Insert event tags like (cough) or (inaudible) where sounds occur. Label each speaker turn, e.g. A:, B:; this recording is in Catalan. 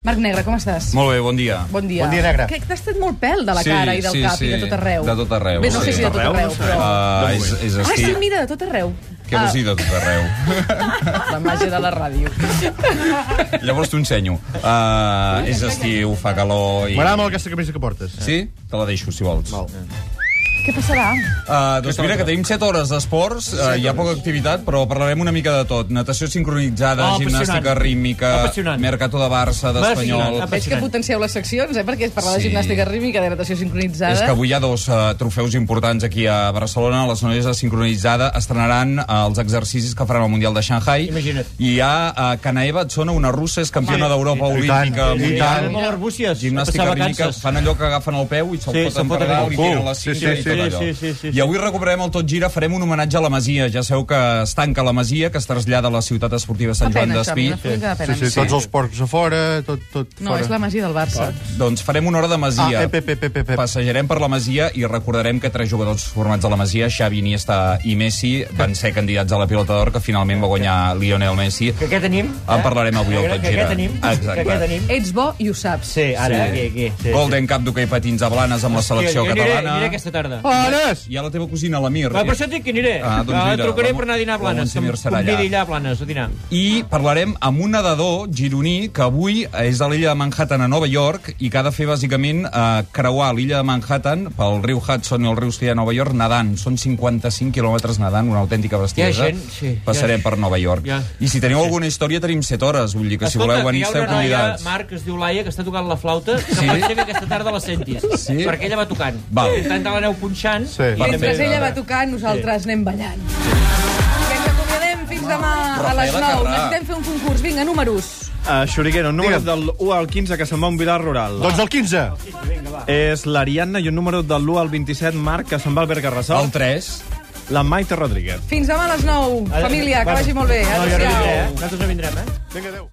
A: Marc Negre, com estàs?
B: Molt bé, bon dia.
A: Bon dia.
C: Bon dia, Negre.
A: Que t'has tret molt pèl de la
B: Sí,
A: cara i del
B: sí,
A: cap i
B: sí.
A: de tot arreu.
B: De tot arreu,
A: Bé, no sé
B: sí.
A: si de tot
C: Arreu,
A: arreu,
C: no sé.
A: però...
B: Ah, és, és
A: Ah,
B: estiu...
A: sí, mira, de tot arreu. Ah,
B: Què vols dir de tot arreu?
A: (laughs) La màgia de la ràdio.
B: Llavors t'ho ensenyo. Uh, és estiu, fa calor i...
C: M'agrada molt aquesta camisa que portes.
B: Sí? Te la deixo, si vols. Val.
A: Què passarà?
B: Uh, doncs mira, que tenim 7 hores d'esports, uh, hi ha poca activitat, però parlarem una mica de tot. Natació sincronitzada,
D: Oh, apassionant.
B: gimnàstica rítmica,
D: Apassionant.
B: mercato de Barça, d'Espanyol...
D: Apassionant, apassionant.
A: Veig que potencieu les seccions, eh? Perquè és parlar de
B: Sí.
A: gimnàstica rítmica, de natació sincronitzada...
B: És que avui hi ha dos uh, trofeus importants aquí a Barcelona. Les noies de sincronitzada estrenaran uh, els exercicis que faran al Mundial de Shanghai.
D: Imagina't.
B: I hi ha uh, Kanaeva Tsona, una russa, és campiona d'Europa
C: i tant,
B: olímpica
C: i
B: mundial.
D: tant. Molt arbúcies, a
B: Gimnàstica
D: passar
B: rítmica,
D: vacances.
B: fan allò que agafen el peu i se'l
D: Sí,
B: foten
D: se'l
B: per
D: foten
B: dalt i
D: al
B: tiren
D: cul.
B: la
D: Sí,
B: cinta
D: sí,
B: i tot
D: sí,
B: allò.
D: sí, sí, sí, sí.
B: I avui recuperem el Tot Gira, farem un homenatge a la Masia. Ja sabeu que es tanca la Masia, que es trasllada a la ciutat esportiva Sant
A: Fa
B: Joan
A: pena, això,
B: d'Espí.
A: a mi m'explica de
C: Sí,
A: pena.
C: sí, tots els porcs a fora, tot, tot
A: No,
C: fora.
A: és la màgia del Barça.
B: Doncs farem una hora de Masia.
C: Ah, ep, ep, ep, ep, ep.
B: Passejarem per la Masia i recordarem que tres jugadors formats a la Masia, Xavi, Iniesta i Messi, van ser candidats a la pilota d'or que finalment va guanyar Lionel Messi.
D: Que què tenim? Eh?
B: En parlarem avui al
D: Que-
B: Tot
D: que
B: Gira.
D: Què tenim?
B: Exacte.
D: Que què tenim?
A: Ets bo i ho saps.
D: Sí, ara, aquí, aquí. Sí,
B: Golden Cup d'hoquei patins a Blanes amb la
D: sí.
B: selecció
D: Jo aniré,
B: catalana.
D: aniré aquesta tarda.
C: Pares!
B: Hi ha la teva cosina, la Mir.
D: Va, per això et dic que aniré.
B: Ah, doncs
D: Ah,
B: mira,
D: trucaré
B: la-
D: per anar a dinar a
B: la
D: Blanes.
B: Montse
D: Que em
B: Mir serà allà.
D: convidi allà a Blanes a dinar.
B: I parlarem amb un nedador gironí que avui és de l'illa de Manhattan a Nova York i que ha de fer, bàsicament, eh, creuar l'illa de Manhattan pel riu Hudson i el riu Sia a Nova York nedant. Són 55 quilòmetres nedant, una autèntica bestiesa.
D: gent, sí, hi ha
B: Passarem
D: gent.
B: per Nova York.
D: Hi ha-
B: I si teniu alguna història tenim 7 hores, vull dir que si
D: Escolta,
B: voleu venir
D: que hi ha
B: esteu
D: una noia,
B: convidats.
D: Marc, que es diu Laia, que està tocant la flauta, que
B: Sí?
D: pot ser que aquesta tarda la sentis.
B: Sí?
D: Perquè ella va tocant.
B: Val.
D: Tant te l'aneu punxant.
C: Sí.
D: i
B: Perfecte.
A: Mentre
D: també-
A: ella va tocar, nosaltres anem ballant. Que ens acomiadem fins demà a les
B: Rafaela
A: 9.
B: Carrà.
A: Necessitem fer un concurs. Vinga, números.
E: Uh, Xuriguera, un número
C: Digue'm.
E: del 1 al 15 que se'n va a un vilar rural.
C: Doncs el 15.
E: És l'Ariadna i un número de l'1 al 27, Marc, que se'n va al Berga
B: El
E: Resol.
B: 3.
E: La Maite Rodríguez.
A: Fins demà a les 9. Família, que vagi molt bé.
D: No, jo no vindré,
A: Adéu-siau.
D: eh? Nosaltres no vindrem, eh?
C: Vinga, adéu.